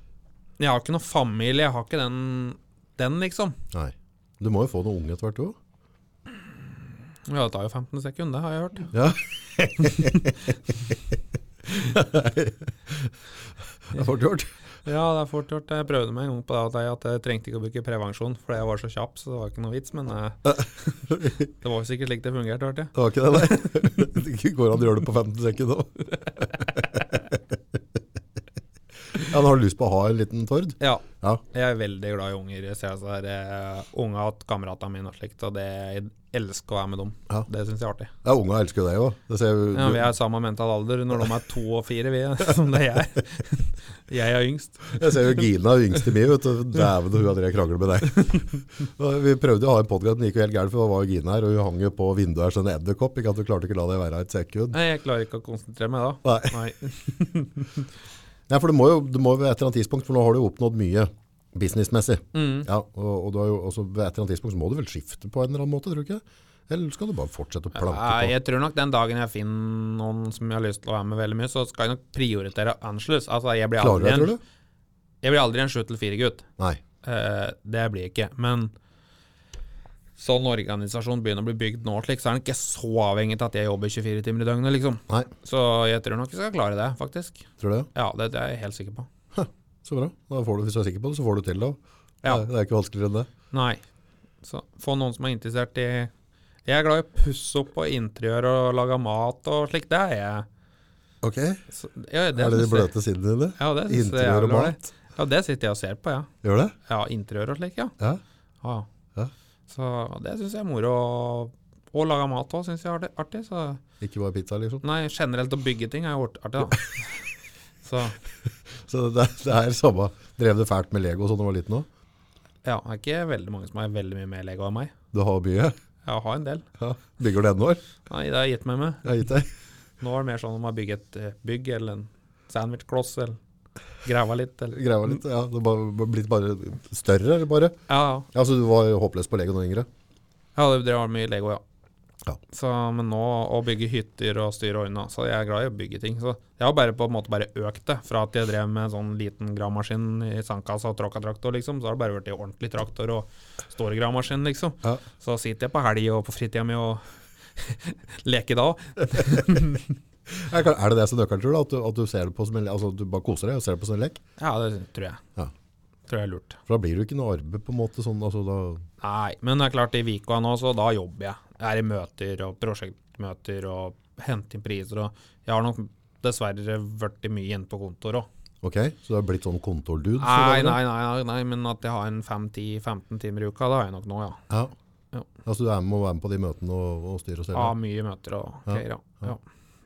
jeg har ikke noe familie, jeg har ikke den, den liksom. nei. Du må jo få noen unge etter hvert, du òg. Ja, det tar jo 15 sekunder, det har jeg hørt. Ja. det er fort gjort. Ja, det er fort gjort. Jeg prøvde meg en gang på det at jeg, at jeg trengte ikke å bruke prevensjon fordi jeg var så kjapp, så det var ikke noe vits. Men eh, det var jo sikkert slik det fungerte, hørte jeg. Det var ikke det, nei. Det går an å gjøre det på 15 sekunder òg. Ja, men har du lyst på å ha en liten tord? Ja, Ja. jeg er veldig glad i unger. Jeg ser altså der, uh, unga til kameratene mine og slikt, og det, jeg elsker å være med dem. Ja. Det syns jeg er artig. ja unga elsker jo deg òg. Det ser jo Ja, vi er samme mental alder når de er to og fire, vi, eh, som det er jeg. Jeg er yngst. Jeg ser jo Gina, yngste mi, vet du. Dæven, hun Andrea krangler med deg. Og Vi prøvde å ha en podkast, men det gikk jo helt gærent, for da var jo Gina her, og hun hang jo på vinduet her som en edderkopp. Ikke at du klarte ikke å la det være et sekund. Nei, jeg klarer ikke å konsentrere meg da. Nei. Nei. Nei, for det må jo det må ved et eller annet tidspunkt, for nå har du jo oppnådd mye businessmessig. Mm. Ja, og, og du har jo også ved et eller annet tidspunkt så må du vel skifte på en eller annen måte, tror du ikke? det? Eller skal du bare fortsette å planke Ja, på? jeg tror nok den dagen jeg finner noen som jeg har lyst til å være med veldig mye, så skal jeg nok prioritere annerledes. Altså, jeg blir Klarer du aldri det, tror en, du? jeg blir aldri en 7-4-gutt. Nei. Eh, det blir jeg ikke. Men sånn organisasjon begynner å bli bygd nå, slik, så er den ikke så avhengig av at jeg jobber 24 timer i døgnet, liksom. Nei, Så jeg tror nok jeg skal klare det, faktisk. tror du det? Ja, det, det er jeg helt sikker på. Så bra. Da får du, hvis du er sikker på det, så får du til det. Ja. Det er ikke vanskeligere enn det. Nei. Så få noen som er interessert i Jeg er glad i å pusse opp og interiør og lage mat og slikt. Det er jeg. Ok, Så, ja, er det de det synes jeg- bløte sidene dine? Ja, det synes jeg er Interiør jævlig og ålreit. mat? Ja, det sitter jeg og ser på, ja. Gjør det? Ja, Interiør og slik, ja. Ja. ja. Ja. Så det syns jeg er moro. å- Å lage mat òg syns jeg er artig- artig. Så Ikke bare pizza, liksom. nei, generelt å bygge ting er jo art- artig, da. Så Så det, det er samme. Drev det fælt med Lego sånn da du var liten òg? ja, det er ikke veldig mange som er veldig mye mer Lego enn meg. Du har mye? Jeg har en del. Ja. Bygger du ennå? eller? Nei, det har jeg gitt meg med. Jeg har gitt deg. Nå er det mer sånn om jeg bygger et eh, bygg eller en sandwichkloss eller grava litt eller Greia litt. Ja, det har blitt bare større, eller bare? Ja, Ja, så du var håpløs på Lego da yngre? ja det drev mye Lego, ja. Ja. Så, men nå å bygge hytter og styre unna, så jeg er glad i å bygge ting. Så jeg har bare på en måte bare økt det, fra at jeg drev med en sånn liten gravemaskin i sandkassa og tråkka traktor, liksom, så har det bare vært i ordentlig traktor og stor gravemaskin, liksom. Ja. Så sitter jeg på helg og på fritida mi og leker da òg. Er er det det som nøkkelen, tror du? At du, at du, ser det på som en, le- altså, at du bare koser deg og ser det på som en lek? Ja, det tror jeg. Ja. Tror jeg er lurt. For da blir det jo ikke noe arbeid, på en måte. sånn, altså da... Nei, men det er klart i Vika nå, så da jobber jeg. Jeg er i møter og prosjektmøter og henter inn priser og Jeg har nok dessverre vært mye inne på kontor òg. Ok, så du har blitt sånn kontordude? for Nei, dagen, da? nei, nei, nei, nei, men at jeg har en 5-10-15 timer i uka, det har jeg nok nå, ja. Ja. Ja. Altså du er med, må være med på de møtene og, og styre og Jeg stelle? har mye møter og greier, ja. ja.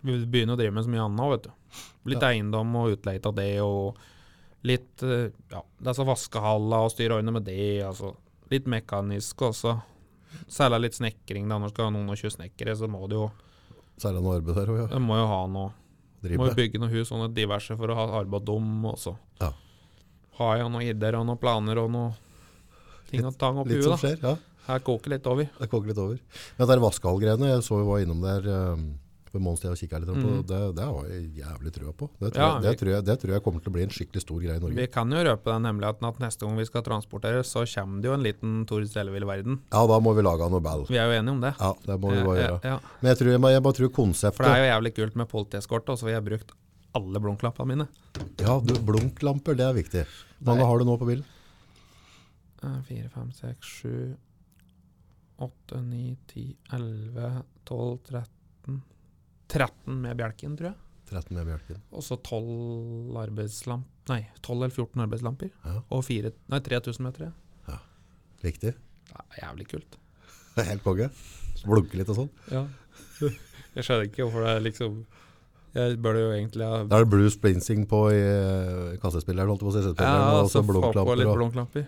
Vi begynner å drive med så mye annet, vet du. Litt eiendom og utleie av det, og litt eh, Ja, det er så vaskehalla og styre øynene med det, altså. Litt mekanisk også. Særlig litt snekring, da. Når skal noen og kjøre snekkere, så må du jo Særlig noe arbeid der òg, ja. Jeg må jo ha noe. Drive Må jo med. bygge noen hus og noe diverse for å ha arbeid om også. Ja. Har jeg noen ideer og noen planer og noen ting og tang oppi Litt sånn som huet, skjer, da. ja. Her koker litt over. Det koker litt over. Men det der vaskehallgreiene, jeg så vi var innom der um, ved Månstad og kikka litt på, Mhm. det, det har jeg jævlig trua på. Det tror, Ja, jeg, det, vi- tror jeg, det tror jeg kommer til å bli en skikkelig stor greie i Norge. Vi kan jo røpe den hemmeligheten at neste gang vi skal transportere, så kommer det jo en liten Tor Selvild-verden. Ja, da må vi lage noe ball. Vi er jo enige om det. Ja, det må vi bare Ja, gjøre. ja, ja. Men jeg, tror, jeg, må- jeg bare tror For det konseptet er jo jævlig kult med politieskorte, og så har jeg brukt alle blunklappene mine. Ja, du, blunklamper, det er viktig. Hvor Nei. mange har du nå på bilen? Eh, Fire, fem, seks, sju, åtte, ni, ti, elleve, tolv, tretten. 13 med bjelken, tror jeg. 13 med bjelken. Og så 12 arbeidslamp... Nei, 12 eller 14 arbeidslamper. Ja. Og fire, nei, 3000 meter. ja. Viktig. Det er jævlig kult. Det er Helt konge. Så Blunke litt og sånn. Jeg skjønner ikke hvorfor det er liksom Jeg bør jo egentlig ha Da er det Bruce Springsteen på i eh, kassespilleren, holdt jeg på å si, ja, CD-spilleren, og så altså, få på blunklamper litt og blomklamper.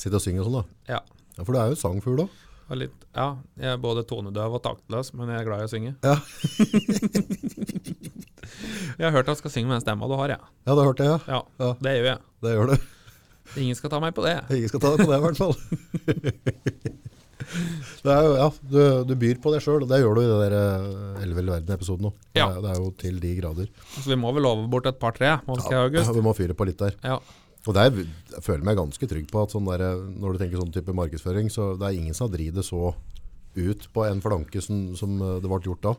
sitte og synge og sånn, da. Ja. ja. For du er jo sangfugl òg. Og litt, ja, jeg er både tonedøv og taktløs, men jeg er glad i å synge. Ja. jeg har hørt at jeg skal synge med den stemma du har, jeg. Ja, det hørte jeg, ja. Ja. Ja. Det gjør jeg. Det gjør du. Ingen skal ta meg på det. Ingen skal ta deg på det, i hvert fall. det er jo, ja, du, du byr på deg sjøl, og det gjør du i den der Ellevill verden-episoden òg. Ja. Det, er- det er jo til de grader. Så Altså, vi må vel love bort et par-tre, må vi ikke, Ja, August? vi må fyre på litt der. Ja. Og der jeg føler jeg meg ganske trygg på at sånn der, når du tenker sånn type markedsføring, så det er ingen som har dritt det så ut på en flanke som, som eh, det ble gjort da.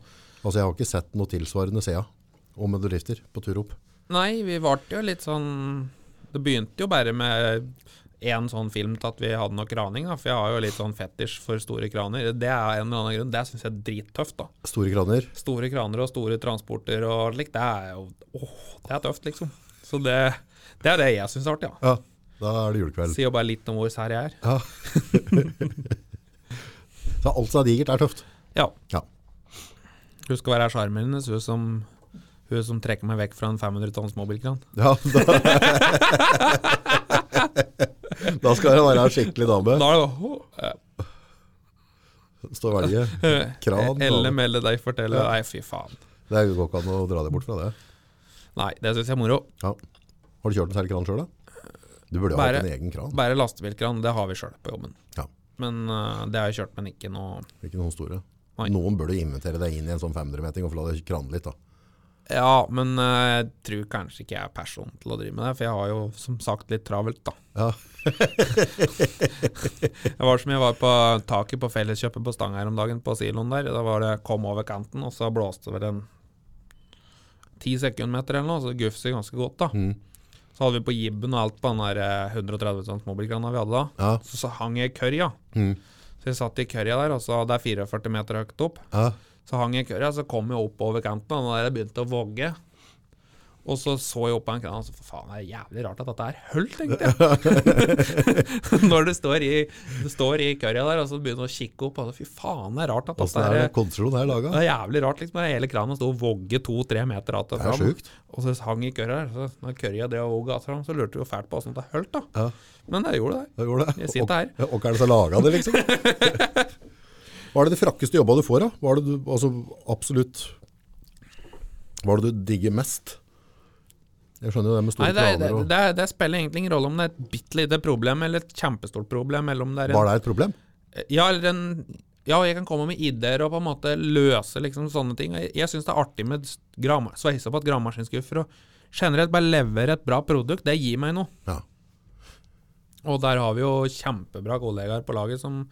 Altså jeg har ikke sett noe tilsvarende SEA om bedrifter på tur opp. Nei, vi var jo litt sånn Det begynte jo bare med én sånn film til at vi hadde noe kraning, da. For jeg har jo litt sånn fetisj for store kraner. Det er en eller annen grunn. Det syns jeg er drittøft, da. Store kraner, Store kraner og store transporter og slikt, det er jo Åh, det er tøft, liksom. Så det, det er det jeg syns er artig, ja. ja, da er det julekveld. Sier jo bare litt om hvor sær jeg er. Ja. så alt som er digert er tøft. Ja. Ja. Husk å være sjarmeren hennes, hun som hun som trekker meg vekk fra en 500 tonns mobilkran. Ja, da, da skal det være en skikkelig dame. Da er det jo åh, Stå og velge. eh, Kran, Elle da. melde deg fortelle. Ja. Nei, fy faen. Det går ikke an å dra det bort fra det. Nei, det syns jeg er moro. Ja. Har du kjørt en særlig kran sjøl, da? Du burde jo ha Bare- hatt en egen kran. Bare lastebilkran, det har vi sjøl på jobben. Ja. Men eh, det har jeg kjørt, men ikke noe Ikke noen store. Nei. Noen burde invitere deg inn i en sånn 500-meting og få la deg krane litt. da. Ja, men eh, jeg tror kanskje ikke jeg er person til å drive med det, for jeg har jo som sagt litt travelt, da. Ja. Jeg var som jeg var på taket på Felleskjøpet på Stang her om dagen, på siloen der. Da var det kom over kanten, og så blåste det vel en ti sekundmeter eller noe, så det gufset ganske godt, da. Mm. Så hadde vi på jibben og alt på den der eh, 130 tonns mobilkrana vi hadde da. Ja. Så, så hang jeg i kørja. Mm. Så jeg satt i kørja der, og så det er 44 meter høyt opp. Ja. Så hang jeg i kørja, så kom jeg opp over kanten, og da jeg begynte å vogge. Og så så jeg opp på den kranen, og så for faen, det er jævlig rart at dette er høll, tenkte jeg. Når du står i, du står i kørja der, og så begynner du å kikke opp, og så fy faen, det er rart at Åssen dette er er Altså, det konstruksjonen her laga? det er jævlig rart, liksom. Hele kranen sto og vogge to-tre meter att og Det er fram. sjukt. Og så hang i kørja der. Så når kørja drev og vogga att og fram, så lurte vi jo fælt på åssen det hølt, da. Ja. Men det gjorde det. Det går det. Jeg sitter her. Og, og hva er det som laga det, liksom? Hva er det de frakkeste jobba du får, da? Hva er det du altså, absolutt Hva er det du digger mest? Jeg skjønner jo det med Nei, store det, er- det, kraner og det, er- det spiller egentlig ingen rolle om det er et bitte lite problem eller et kjempestort problem, eller om det er en Var det et problem? Ja, eller en Ja, jeg kan komme med ideer og på en måte løse liksom sånne ting. Jeg, jeg syns det er artig med s- gravema- sveise på et gravemaskinskuffer og generelt bare levere et bra produkt. Det gir meg noe. Ja. Og der har vi jo kjempebra kollegaer på laget som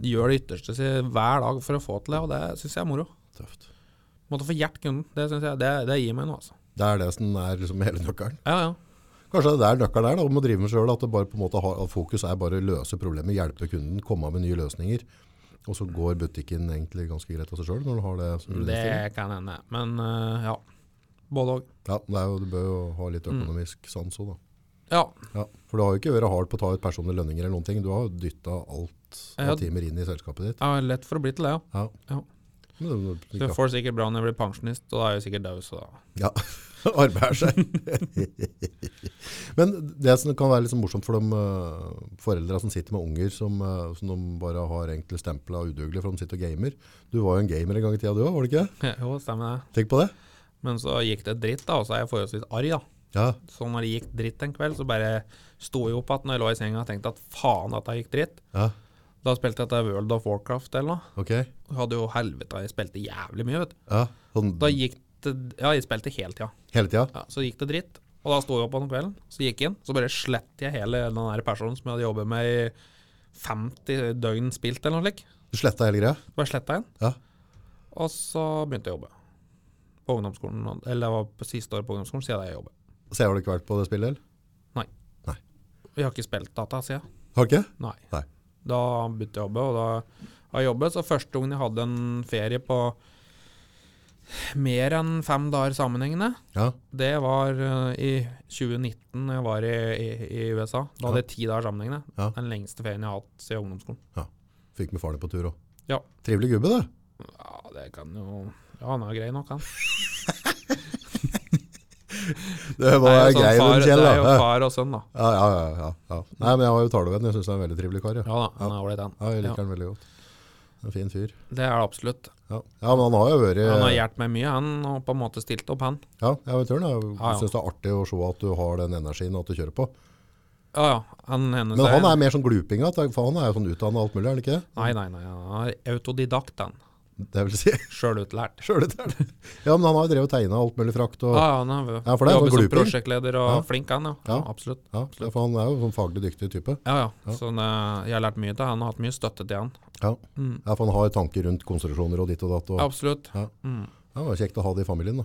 gjør det ytterste si hver dag for å få til det, og det syns jeg er moro. Tøft. Måtte få hjertet kunden. Det synes jeg, det, det gir meg noe, altså. Det er det som er liksom hele nøkkelen. Ja, ja. Kanskje det er nøkkelen der, da, om å drive med sjøl. At det bare på en måte har, at fokus er bare å løse problemet, hjelpe kunden, komme med nye løsninger. Og så går butikken egentlig ganske greit av seg sjøl når du har det. som Mm. løsning. Det kan hende. Men eh, ja. Både òg. Ja, det er jo, du bør jo ha litt økonomisk sans òg, da. Ja. Ja, for du har jo ikke vært hard på å ta ut personlige lønninger eller noen ting. Du har dytta alt av Ja. timer inn i selskapet ditt. Jeg har lett for å bli til det, ja. Ja. Ja. Men det, det, Du ikke- får det sikkert bra når jeg blir pensjonist, og da er jeg jo sikkert død, så da ja. Arbeid er seg. Men det som kan være litt sånn morsomt for de eh, foreldre som sitter med unger som, eh, som de bare har egentlig stempla udugelige for de sitter og gamer. Du var jo en gamer en gang i tida du òg, var du ikke? Jo, stemmer det. Tenk på det. Men så gikk det dritt, da, og så er jeg forholdsvis arg, da. Ja, Så når det gikk dritt en kveld, så bare sto jeg opp igjen når jeg lå i senga og tenkte at faen, dette gikk dritt. ja, Da spilte jeg dette World of Warcraft eller noe. ok. Jeg hadde jo helvete, jeg spilte jævlig mye, vet du. Ja, sånn Da gikk det Ja, jeg spilte hele tida. hele tida. Ja, så gikk det dritt. Og da sto jeg opp om kvelden, så gikk jeg inn, så bare slett jeg hele den der personen som jeg hadde jobbet med i 50 døgn spilt eller noe slikt. Du sletta hele greia. Bare sletta igjen. Ja. Og så begynte jeg å jobbe. På ungdomsskolen, eller det var på siste året på ungdomsskolen, så jeg jobber. Så har du ikke vært på det spillet, eller? Vi har ikke spilt data, sier jeg. Har du ikke? Nei. Nei. Da begynte jeg å jobbe, og da har jeg jobbet. Så første gangen jeg hadde en ferie på mer enn fem dager sammenhengende, Ja, det var eh, i 2019 når jeg var i, i, i USA. Da hadde jeg ti dager sammenhengende. Ja. Den lengste ferien jeg har hatt siden ungdomsskolen. Fikk med faren din på tur òg. Ja. Trivelig gubbe, det. Ja, det kan jo Ja, han er grei nok, han. Det Det var er jo sånn grei far- den Kjell, det da. er jo far og sønn, da. Ja, ja, ja, ja, ja. Nei, men jeg har jo talevenn. Jeg syns han er en veldig trivelig kar. Ja. Ja da, han er ålreit, han. Ja, jeg liker Ja. han veldig godt. En fin fyr. Det er det absolutt. Ja, ja men han har jo vært Han har hjulpet meg mye, han, og på en måte stilt opp, han. Ja, jeg vet ikke, jeg Ja, ja. syns det er artig å se at du har den energien at du kjører på. Ja, ja. Han hennes Men han er mer sånn glupinga, for han er jo sånn utdanna alt mulig, er han ikke? det? Nei, nei, nei. Han er autodidakt, han. Det vil si Sjølutlært. sjøl det er det. Ja, men han har jo drevet og tegna alt mulig frakt og Ja, ja. ja, han er Ja, for det er jobber sånn som gluping. prosjektleder og Ja. flink, han. Ja. ja, Ja. absolutt. for han er jo sånn faglig dyktig type. Ja, ja. Så det- jeg har lært mye til han, og hatt mye støtte til han. Ja. Mm. ja, for han har tanker rundt konstruksjoner og ditt og datt. Og, ja. Absolutt. Ja. Mm. det var kjekt å ha det i familien, da.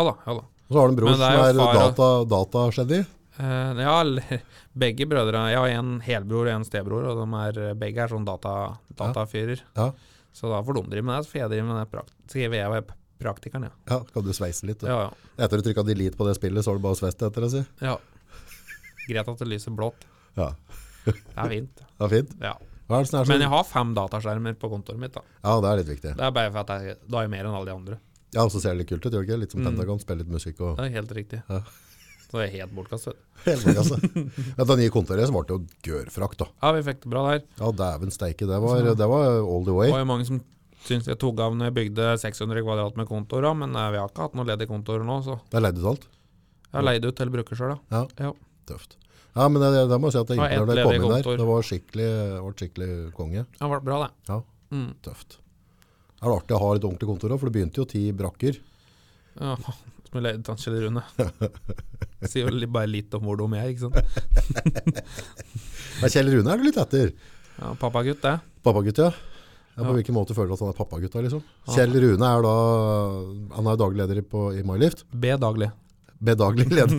Ja da, ja da. Og så har han en bror Men det er som jo er far, da. data, data-sheddy. Eh, ja, l- begge brødre. Jeg har en helbror og en stebror, og de er, begge er sånn data, datafyrer. Ja. Så da får de drive med det, så får jeg drive med det prakt- Skal jeg være praktikeren, ja. Ja, kan du sveise litt? du? Ja, ja. Etter å trykke delete på det spillet, så har du bare sveist etter det, si. ja. Greit at det lyser blått. Ja, Det er fint. det er fint. Ja. Hva er det som er Men sånn? jeg har fem dataskjermer på kontoret mitt. da. Ja, det er litt viktig. Det er bare for at jeg, da er jeg mer enn alle de andre. Ja, og så ser det litt kult ut, gjør det ikke? Litt som Mm. Pentagon, spiller litt musikk og Det er helt riktig. Ja. Så det er helt bortkastet. hele mulig, altså. Men det nye kontoret så ble det jo gørfrakt, da. Ja, vi fikk det bra der. Ja, dæven steike, det Sånn. var, det var all the Det way. var jo mange som syntes jeg tok av når jeg bygde 600 kvadrat med kontor, da, men eh, vi har ikke hatt noe ledig kontor nå, så Det er leid ut alt. Jeg har leid ut til bruker sjøl, da. Tøft. Ja, men det, det må jeg si at jeg Det var gikk når det ett kom ledig inn der. kontor. Det var skikkelig, var skikkelig konge. Det har vært bra, det. Ja. Mm. Tøft. Det er artig å ha et ordentlig kontor òg, for det begynte jo ti brakker. Ja, som jeg leide til han Kjell Rune. Sier jo li- bare litt om hvor dum jeg er, ikke sant. Men Kjell Rune er du litt etter. Ja, Pappagutt, det. Pappagutt, ja. ja på Ja. hvilken måte føler du at han er pappagutt? da, liksom? Ja. Kjell Rune er da Han er daglig leder på, i Mylift. B daglig. Bedaglig leder.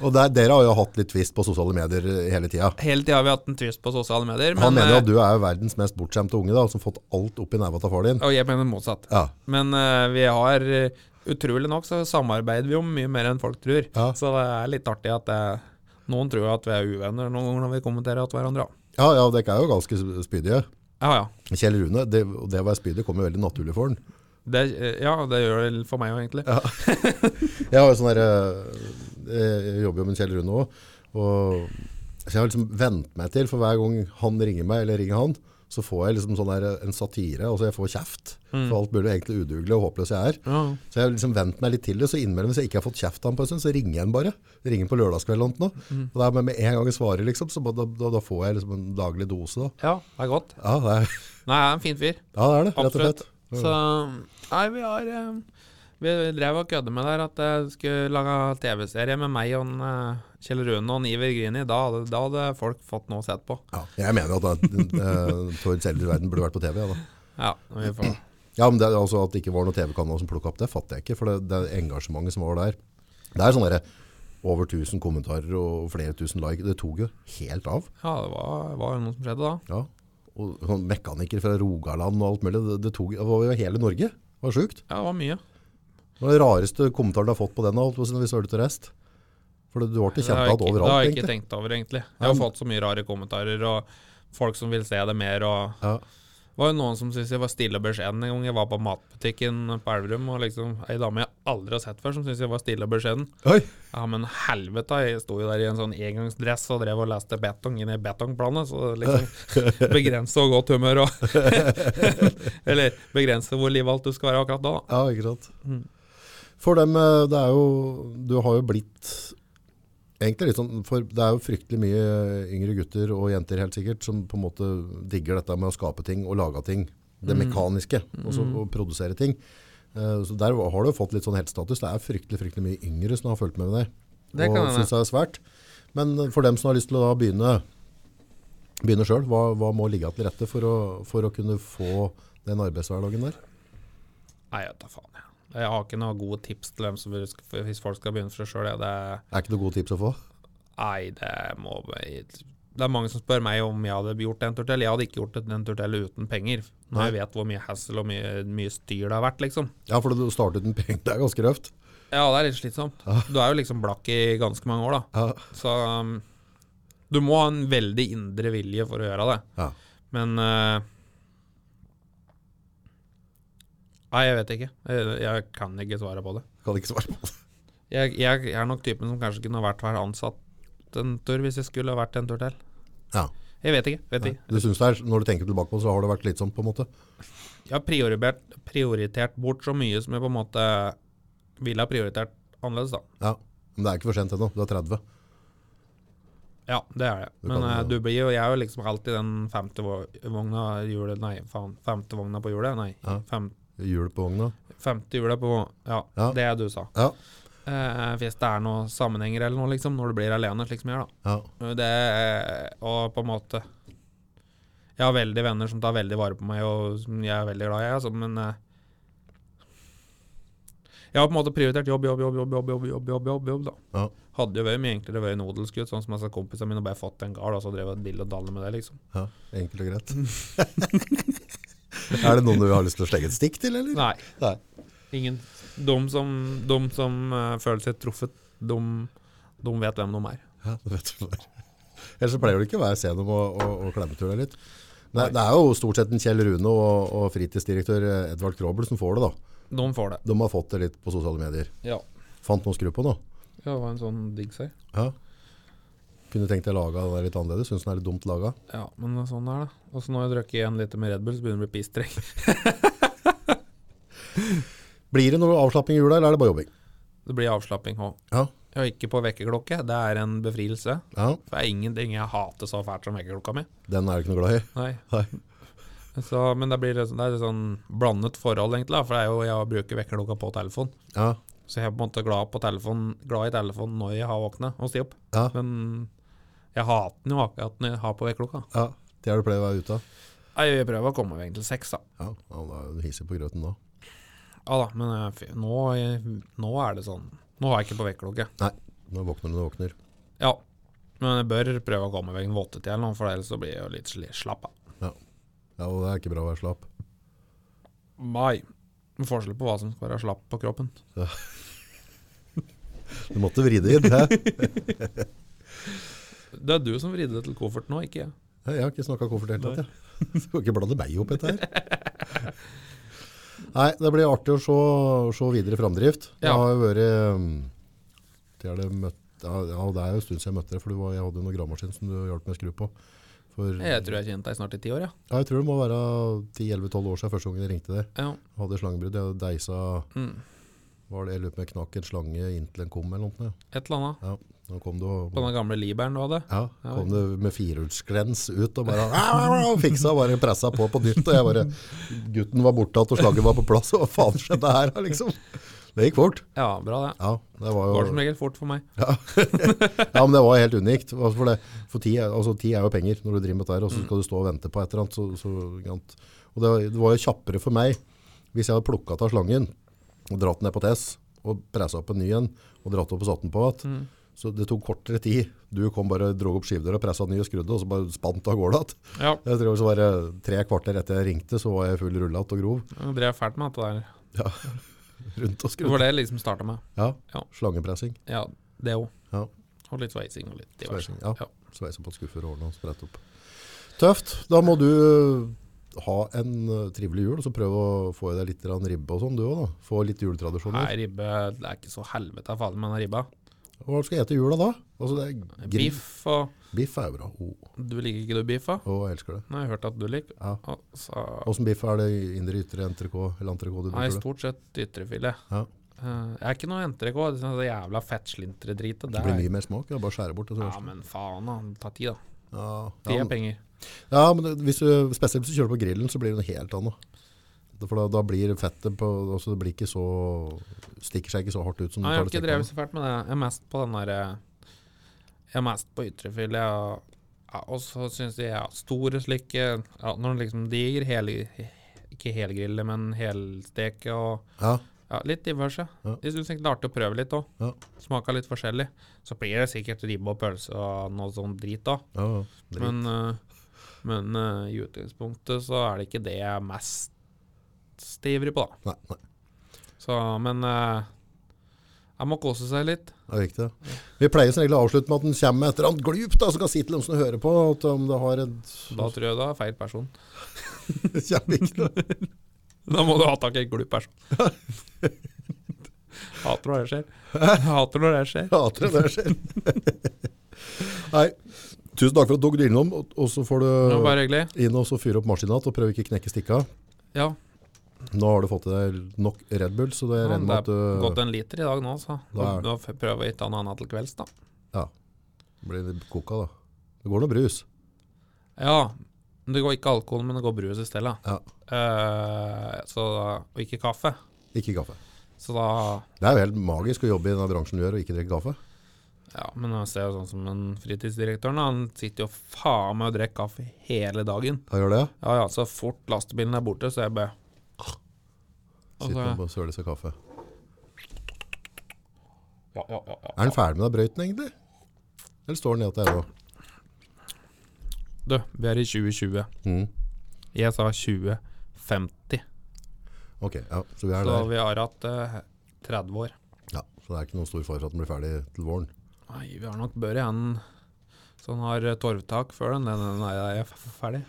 og der, dere har jo hatt litt tvist på sosiale medier hele tida. Hele tida har vi hatt en tvist på sosiale medier. Han mener eh, jo at du er jo verdens mest bortskjemte unge, da, som har fått alt opp i neva av far din. Og jeg mener motsatt. Ja. Men eh, vi har eh, Utrolig nok så samarbeider vi jo mye mer enn folk tror. Ja. Så det er litt artig at det, noen tror at vi er uvenner noen ganger når vi kommenterer at hverandre. ja, ja, dere er jo ganske spydige. Ja, ja. Kjell Rune, det, og det å være spydig kommer jo veldig naturlig for han. Det, eh, ja, det gjør det for meg òg, egentlig. Jeg har jo sånn der, eh, Jeg jobber jo med Kjell Rune òg. Og så jeg har liksom vent meg til, for hver gang han ringer meg, eller ringer han, så får jeg liksom sånn der, eh, en satire, og så jeg får kjeft. For alt mulig egentlig udugelig og håpløs jeg er. Ja. Så jeg har liksom vent meg litt til det, så innimellom hvis jeg ikke har fått kjeft av han på en stund, så ringer jeg han bare. Jeg ringer på lørdagskvelden eller noe. Og da er med, med en gang jeg svarer, liksom, så da, da, da får jeg liksom en daglig dose, da. ja, det er godt. Ja, det er Nei, jeg er en fin fyr. ja, det, er det rett og Absolutt. slett. Så Nei, vi har eh, Vi drev og kødde med der at jeg skulle lage TV-serie med meg og en, eh, Kjell Rune og en Iver Grini. Da, hadde- da hadde folk fått noe å sette på. Ja, jeg mener jo at eh, Tord Seljer i verden burde vært på TV, ja da. Ja, vi får Ja, men det, er altså At det ikke var noen TV-kanal som plukka opp det, fatter jeg ikke. For det, det engasjementet som var der Det er sånn derre over 1000 kommentarer og flere tusen like. Det tok jo helt av. Ja, det var, var jo noe som skjedde da. Ja. Og sånn Mekaniker fra Rogaland og alt mulig. Det, det, tok, det var jo hele Norge. Det var sjukt. Ja, det var mye. Det var den rareste kommentaren du har fått på den. Alt, hvis du hører til rest. For du ble Det har jeg kjempehatt ikke, det har overalt, jeg ikke egentlig. tenkt over, egentlig. Jeg har Nei. fått så mye rare kommentarer, og folk som vil se det mer, og Ja. Det var jo noen som syntes jeg var stille og beskjeden en gang jeg var på matbutikken på Elverum, og liksom ei dame jeg aldri har sett før, som syntes jeg var stille og beskjeden. Oi. Ja, men helvete, jeg sto jo der i en sånn engangsdress og drev og leste betong inn i betongplanet, så liksom begrense hvor godt humør og Eller begrense hvor livalt du skal være akkurat da, da. Ja, ikke sant. Mm. For dem, eh, det er jo Du har jo blitt Egentlig litt sånn, for det er jo fryktelig mye eh, yngre gutter og jenter helt sikkert som på en måte digger dette med å skape ting og lage ting. Det Mm. mekaniske. Og så å produsere ting. Eh, Så der har du jo fått litt sånn heltestatus. Det er fryktelig fryktelig mye yngre som har fulgt med deg. Det og kan hende. synes det er svært. Men for dem som har lyst til å da begynne, begynne sjøl, hva, hva må ligge til rette for å, for å kunne få den arbeidshverdagen der? Nei, jeg tar faen, jeg. Jeg har ikke noe gode tips til dem som vil, hvis folk skal begynne for seg sjøl. Nei, Er ikke noe gode tips å få? det må Det er mange som spør meg om jeg hadde gjort en tur til. Jeg hadde ikke gjort en tur til uten penger. Når jeg vet hvor mye hassle og mye, mye styr det har vært, liksom. Ja, for du startet med penger. Det er ganske røft. Ja, det er litt slitsomt. Du er jo liksom blakk i ganske mange år, da. Ja. Så um, du må ha en veldig indre vilje for å gjøre det. Ja. Men eh, Nei, jeg vet ikke. Jeg, jeg kan ikke svare på det. Kan ikke svare på det. Jeg, jeg, jeg er nok typen som kanskje kunne vært her ansatt en tur hvis jeg skulle vært en tur til. Ja. Jeg vet ikke. vet ikke. Du synes det er, når du tenker tilbake på det, så har det vært litt sånn på en måte. Jeg har prioritert, prioritert bort så mye som jeg på en måte ville ha prioritert annerledes, da. Ja. Men det er ikke for sent ennå. Du er 30. Ja, det er det. Du Men kan jo- eh, du blir jo, jeg er jo liksom alltid den femte vo- vogna hjulet, nei, faen, femte vogna på hjulet, nei, Ja. fem, Hjul på vogna. femte hjulet på, ja, Ja. det er du sa. Ja. Eh, hvis det er noen sammenhenger eller noe, liksom, når du blir alene, slik som jeg er, da. Ja. Det, er- og på en måte, jeg har veldig venner som tar veldig vare på meg, og som jeg er veldig glad i, altså, men... eh, jeg har på en måte prioritert jobb, jobb, jobb, jobb, jobb, jobb, jobb, jobb, jobb, jobb da. ja. Hadde jo vært mye enklere vært nodelskudd, sånn som altså kompisene mine bare fått en gard og så drev og dill og dall med det, liksom. ja. Enkelt og greit. er det noen du har lyst til å slenge et stikk til, eller? Nei. Nei. Ingen. De som, de som eh, føler seg truffet, de, de vet hvem de er. Ja, det vet du bare. Ellers så pleier du ikke å være sen om å, å, å klemmetur deg litt. Nei, det er jo stort sett en Kjell Rune og, og fritidsdirektør eh, Edvard Krobel som får det, da. De får det. De har fått det litt på sosiale medier. Ja. Fant noen skru på nå? ja det var en sånn digg seg. Ja. Kunne tenkt deg laga den litt annerledes. Syns den er litt dumt laga. Ja, men sånn er det. Og så når jeg drukket en liter med Red Bull, så begynner det å bli pissdreng. Blir det noe avslapping i jula, eller er det bare jobbing? Det blir avslapping òg. Ja. Og ikke på vekkerklokke. Det er en befrielse. ja. For det er ingenting jeg hater så fælt som vekkerklokka mi. Den er du ikke noe glad i? Nei. Nei. Så, men det blir det er et sånn blandet forhold, egentlig. da, For det er jo jeg bruker vekkerklokka på telefon. Ja. Så jeg er på en måte glad, på telefon, glad i telefonen når jeg har våkna og stått opp. Ja. Men jeg hater den jo akkurat når jeg har på vekkerklokka. ja. Det er du pleier å være ute av? Nei, Jeg prøver å komme meg til seks, da. Ja, ja da er du hissig på grøten da. Ja da, men eh, fy- nå, nå er det sånn. Nå har jeg ikke på vekkerklokke. Nei, nå våkner du når du våkner. Ja, men jeg bør prøve å komme meg en våttetid eller noe, for ellers så blir jeg jo litt sli- slapp av. Ja, og det er ikke bra å være slapp. Nei. Forskjell på hva som skal være slapp på kroppen. Du måtte vri det inn. Hæ? Det er du som vridde det til koffert nå, ikke jeg. Jeg har ikke snakka koffert i det hele tatt, jeg. Skal ikke blande meg opp i dette her. Nei, det blir artig å se, se videre framdrift. Det Ja. har jo vært um, det er, det møtt, ja, ja, det er jo en stund siden jeg møtte deg, for du var, jeg hadde jo noen gravemaskin som du hjalp meg å skru på. For, ja, Jeg tror jeg har kjent deg snart i ti år, ja. jeg tror det må være 10-11-12 år siden første gangen jeg ringte deg. ja. Jeg Hadde slangebrudd. Jeg deisa Mm. var det, Jeg lurer på om jeg knakk en slange inntil den kom, eller noe. sånt, Et eller annet. ja. Da kom du og På den gamle Liberen du hadde. Ja, kom det med firehjulsglens ut og bare au, au, au, fiksa og bare pressa på på nytt. Og jeg bare Gutten var borte igjen, og slaget var på plass. Og hva faen skjedde her, da, liksom? Det gikk fort. Ja, bra det. Ja, det var jo Går som regel fort for meg. ja, men det var helt unikt. Altså, For, det, for tid, er- altså, tid er jo penger når du driver med dette, her, og så skal du stå og vente på et eller annet. Så, så, ikke sant? og det, var- det var jo kjappere for meg hvis jeg hadde plukka av slangen og dratt den ned på TS og pressa opp en ny en og dratt opp og satt den på igjen. Så det tok kortere tid. Du kom bare dro opp skivdøra, pressa ny og skrudde, og så bare spant av gårde igjen. Ja, Jeg tror så var det tre kvarter etter jeg ringte, så var jeg full rullet og grov jeg drev fælt med dette der. rundt og Det skrudd. var det jeg liksom starta med. Ja, Ja. slangepressing. Ja, det òg. Ja. Og litt sveising og litt diverse. Sveising, ja. Ja. Sveise på skuffer og ordne og sprette opp. Tøft. Da må du ha en eh, trivelig jul, og så prøv å få i deg litt grann ribbe og sånn, du òg. Få litt Nei, juletradisjoner. ribbe Det er ikke så helvete farlig med den ribba. Hva skal jeg ete i jula da? Altså, det er grill. Biff og Biff er jo bra. Å, Du liker ikke du biff, da? å, jeg elsker det. Nei, jeg har hørt at du liker. Ja. Og så- Åssen biff er det? Indre, ytre, NTRK eller entrecôte? du Nei, bruker det? stort sett ytrefilet. Ja. Eh, Jeg er ikke noe entrekk òg. Det jævla fettslintredritet. Det blir mye mer smak. Ja, bare skjære bort. Og så sånn. Ja, men faen, da. Det tar tid, da. ja, Tid ja, er penger. Ja, men det- hvis du, spesielt hvis du kjører på grillen, så blir det noe helt annet. Det- For da, da blir fettet på, altså det blir ikke så, stikker seg ikke så hardt ut som Nei, du jeg har tar ikke det drevet stekken. så fælt med det. Jeg er mest på den der eh, Jeg er mest på ytrefilet. Og, ja, og så syns jeg ja, store slike ja, Når den liksom diger, hele, ikke helgrille, men helsteke og Ja, Ja, litt diverse. Ja. Jeg syns egentlig det er artig å prøve litt òg. Ja. Smaka litt forskjellig. Så blir det sikkert ribbe og pølse og noe sånn drit òg. ja, ja. Drit. Men, eh, men eh, i utgangspunktet så er det ikke det jeg er mest ivrig på, da. Nei, nei, Så, men eh, jeg må kose seg litt. det er viktig. Vi pleier som regel å avslutte med at den kommer med et eller annet glup da, som kan si til dem som hører på, at om det har en... Da tror jeg du er feil person. Kommer ikke noe. Da må du ha tak i en glup person. Hater når det skjer. Hater når det skjer. Hater det der skjer. Nei, tusen takk for at du tok det innom, og og så får Det du var bare hyggelig. inn og så fyre opp maskinen igjen, og prøv ikke å knekke stikka. Ja, Nå har du fått i deg nok Red Bull, så det ja, regner det med at er du... gått en liter i dag nå, så nå, Da er- nå prøver jeg å ta noe annet til kvelds, da. Blir det koka da. Det går noe brus. Ja, men det går ikke alkohol, men det går brus i stedet. Ja. Eh, så da, og ikke kaffe. Ikke kaffe. Så da Det er jo helt magisk å jobbe i denne bransjen du gjør og ikke drikke kaffe. Ja, men jeg ser jo sånn som en fritidsdirektøren, han sitter jo faen meg og drikker kaffe hele dagen. Da gjør det, ja. Ja, ja, så fort lastebilen er borte, så jeg bare Og så- Sitter og søler seg kaffe. Ja, ja, ja, ja. Er den ferdig med den brøyten egentlig? Eller står den ned til ennå? Du, vi er i 2020. Mm. Jeg sa 2050, Ok, ja, så vi er så der. vi har hatt eh, 30 år. Ja, så det er ikke noen stor fare for at den blir ferdig til våren. Nei, vi har nok bør igjen sånn har eh, torvtak før den. Nei, nei, nei, jeg er f- ferdig.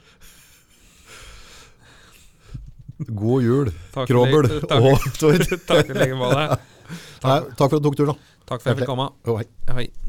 God jul, Takk for Krobel det. Takk. og Tord. Takk i like måte. Nei, Takk for at du tok turen da. Takk for at jeg fikk komme. Jo, hei. Hei.